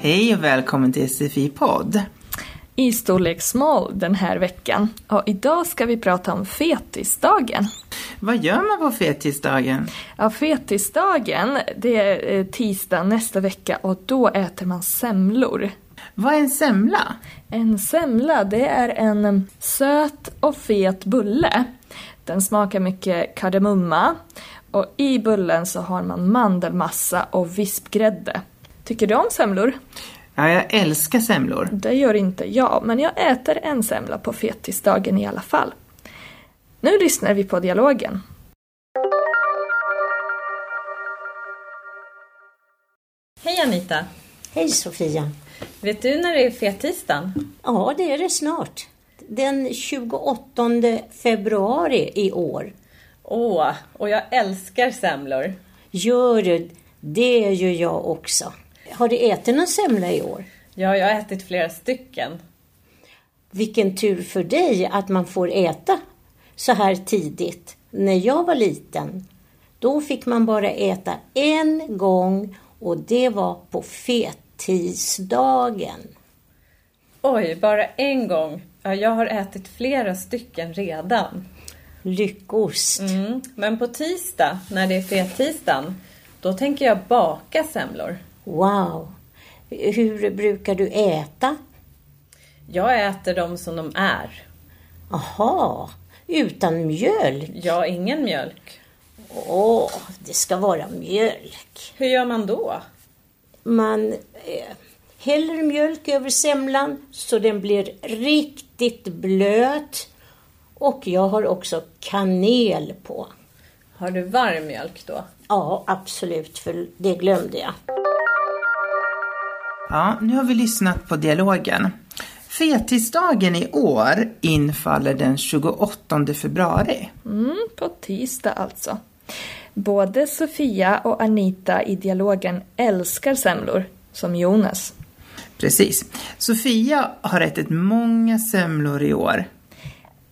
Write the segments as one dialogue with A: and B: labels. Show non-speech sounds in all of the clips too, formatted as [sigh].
A: Hej och välkommen till SFI-podd.
B: i storlek small den här veckan. Och idag ska vi prata om fetisdagen.
A: Vad gör man på fetisdagen?
B: Ja, fetisdagen, det är eh, tisdag nästa vecka och då äter man semlor.
A: Vad är en semla?
B: En semla, det är en eh, söt och fet bulle. Den smakar mycket kardemumma och i bullen så har man mandelmassa och vispgrädde. Tycker du om semlor?
A: Ja, jag älskar semlor.
B: Det gör inte jag, men jag äter en semla på fetisdagen i alla fall. Nu lyssnar vi på dialogen.
C: Hej Anita!
D: Hej Sofia!
C: Vet du när det är fettisdagen?
D: Ja, det är det snart. Den 28 februari i år.
C: Åh, och jag älskar semlor.
D: Gör det, det gör jag också. Har du ätit någon semla i år?
C: Ja, jag har ätit flera stycken.
D: Vilken tur för dig att man får äta så här tidigt. När jag var liten, då fick man bara äta en gång och det var på fettisdagen.
C: Oj, bara en gång. Ja, jag har ätit flera stycken redan.
D: Lyckost!
C: Mm. Men på tisdag, när det är fettisdagen, då tänker jag baka semlor.
D: Wow! Hur brukar du äta?
C: Jag äter dem som de är.
D: Aha, utan mjöl?
C: Jag ingen mjölk.
D: Åh, det ska vara mjölk.
C: Hur gör man då?
D: Man eh, häller mjölk över semlan så den blir riktigt blöt. Och jag har också kanel på.
C: Har du varm mjölk då?
D: Ja, absolut, för det glömde jag.
A: Ja, nu har vi lyssnat på dialogen. Fetisdagen i år infaller den 28 februari.
B: Mm, på tisdag alltså. Både Sofia och Anita i dialogen älskar semlor, som Jonas.
A: Precis. Sofia har ätit många semlor i år.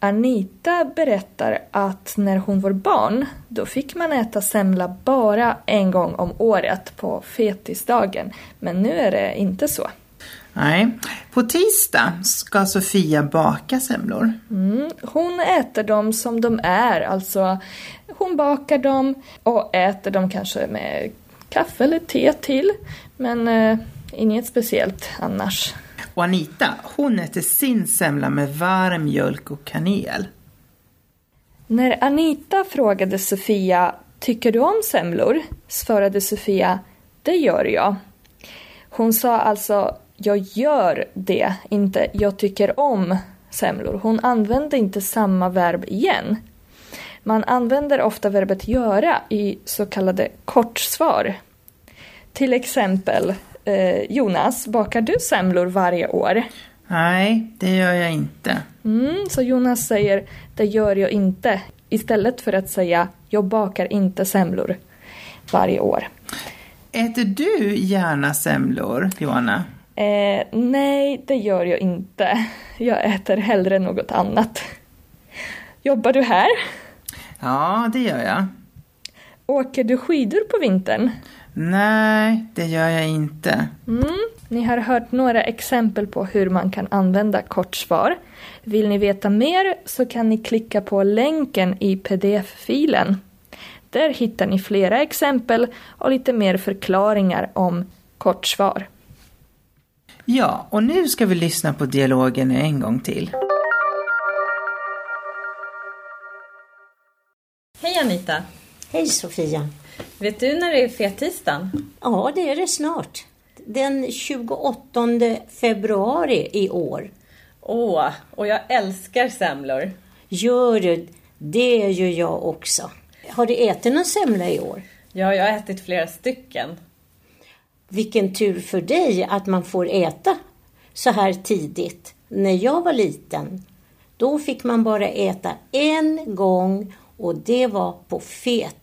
B: Anita berättar att när hon var barn, då fick man äta semla bara en gång om året på fetisdagen. Men nu är det inte så.
A: Nej. På tisdag ska Sofia baka semlor.
B: Mm, hon äter dem som de är, alltså hon bakar dem och äter dem kanske med kaffe eller te till. Men eh, inget speciellt annars.
A: Och Anita, hon äter sin semla med varm mjölk och kanel.
B: När Anita frågade Sofia ”Tycker du om semlor?” svarade Sofia ”Det gör jag”. Hon sa alltså ”Jag gör det”, inte ”Jag tycker om semlor”. Hon använde inte samma verb igen. Man använder ofta verbet ”göra” i så kallade kortsvar. Till exempel eh, Jonas, bakar du semlor varje år?
A: Nej, det gör jag inte.
B: Mm, så Jonas säger “det gör jag inte” istället för att säga “jag bakar inte semlor” varje år.
A: Äter du gärna semlor, Johanna?
B: Eh, nej, det gör jag inte. [laughs] Jag äter hellre något annat. Jobbar du här?
A: Ja, det gör jag.
B: Åker du skidor på vintern?
A: Nej, det gör jag inte.
B: Mm. Ni har hört några exempel på hur man kan använda kortsvar. Vill ni veta mer så kan ni klicka på länken i pdf-filen. Där hittar ni flera exempel och lite mer förklaringar om kortsvar.
A: Ja, och nu ska vi lyssna på dialogen en gång till.
C: Hej Anita!
D: Hej Sofia!
C: Vet du när det är fettisdagen?
D: Ja, det är det snart. Den 28 februari i år.
C: Åh, och jag älskar semlor.
D: Gör det, det gör jag också. Har du ätit någon semla i år?
C: Ja, jag har ätit flera stycken.
D: Vilken tur för dig att man får äta så här tidigt. När jag var liten, då fick man bara äta en gång och det var på fettisdagen.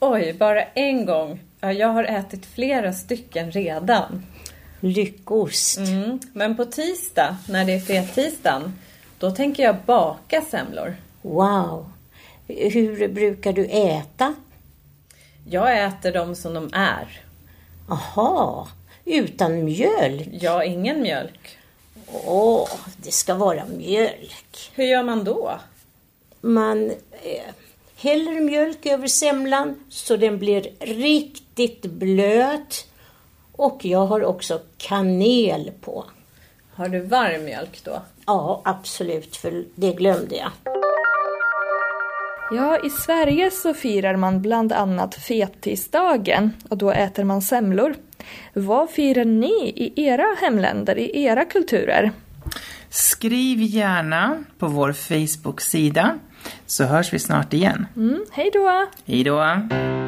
C: Oj, bara en gång. Ja, jag har ätit flera stycken redan.
D: Lyckost!
C: Mm. Men på tisdag, när det är fettisdagen, då tänker jag baka semlor.
D: Wow! Hur brukar du äta?
C: Jag äter dem som de är.
D: Aha, utan mjöl?
C: Ja, ingen mjölk.
D: Åh, det ska vara mjölk.
C: Hur gör man då?
D: Man eh, häller mjölk över semlan så den blir riktigt blöt. Och jag har också kanel på.
C: Har du varm mjölk då?
D: Ja, absolut, för det glömde jag.
B: Ja, i Sverige så firar man bland annat fetisdagen och då äter man semlor. Vad firar ni i era hemländer, i era kulturer?
A: Skriv gärna på vår Facebook-sida så hörs vi snart igen.
B: Mm, hej då!
A: Hej då!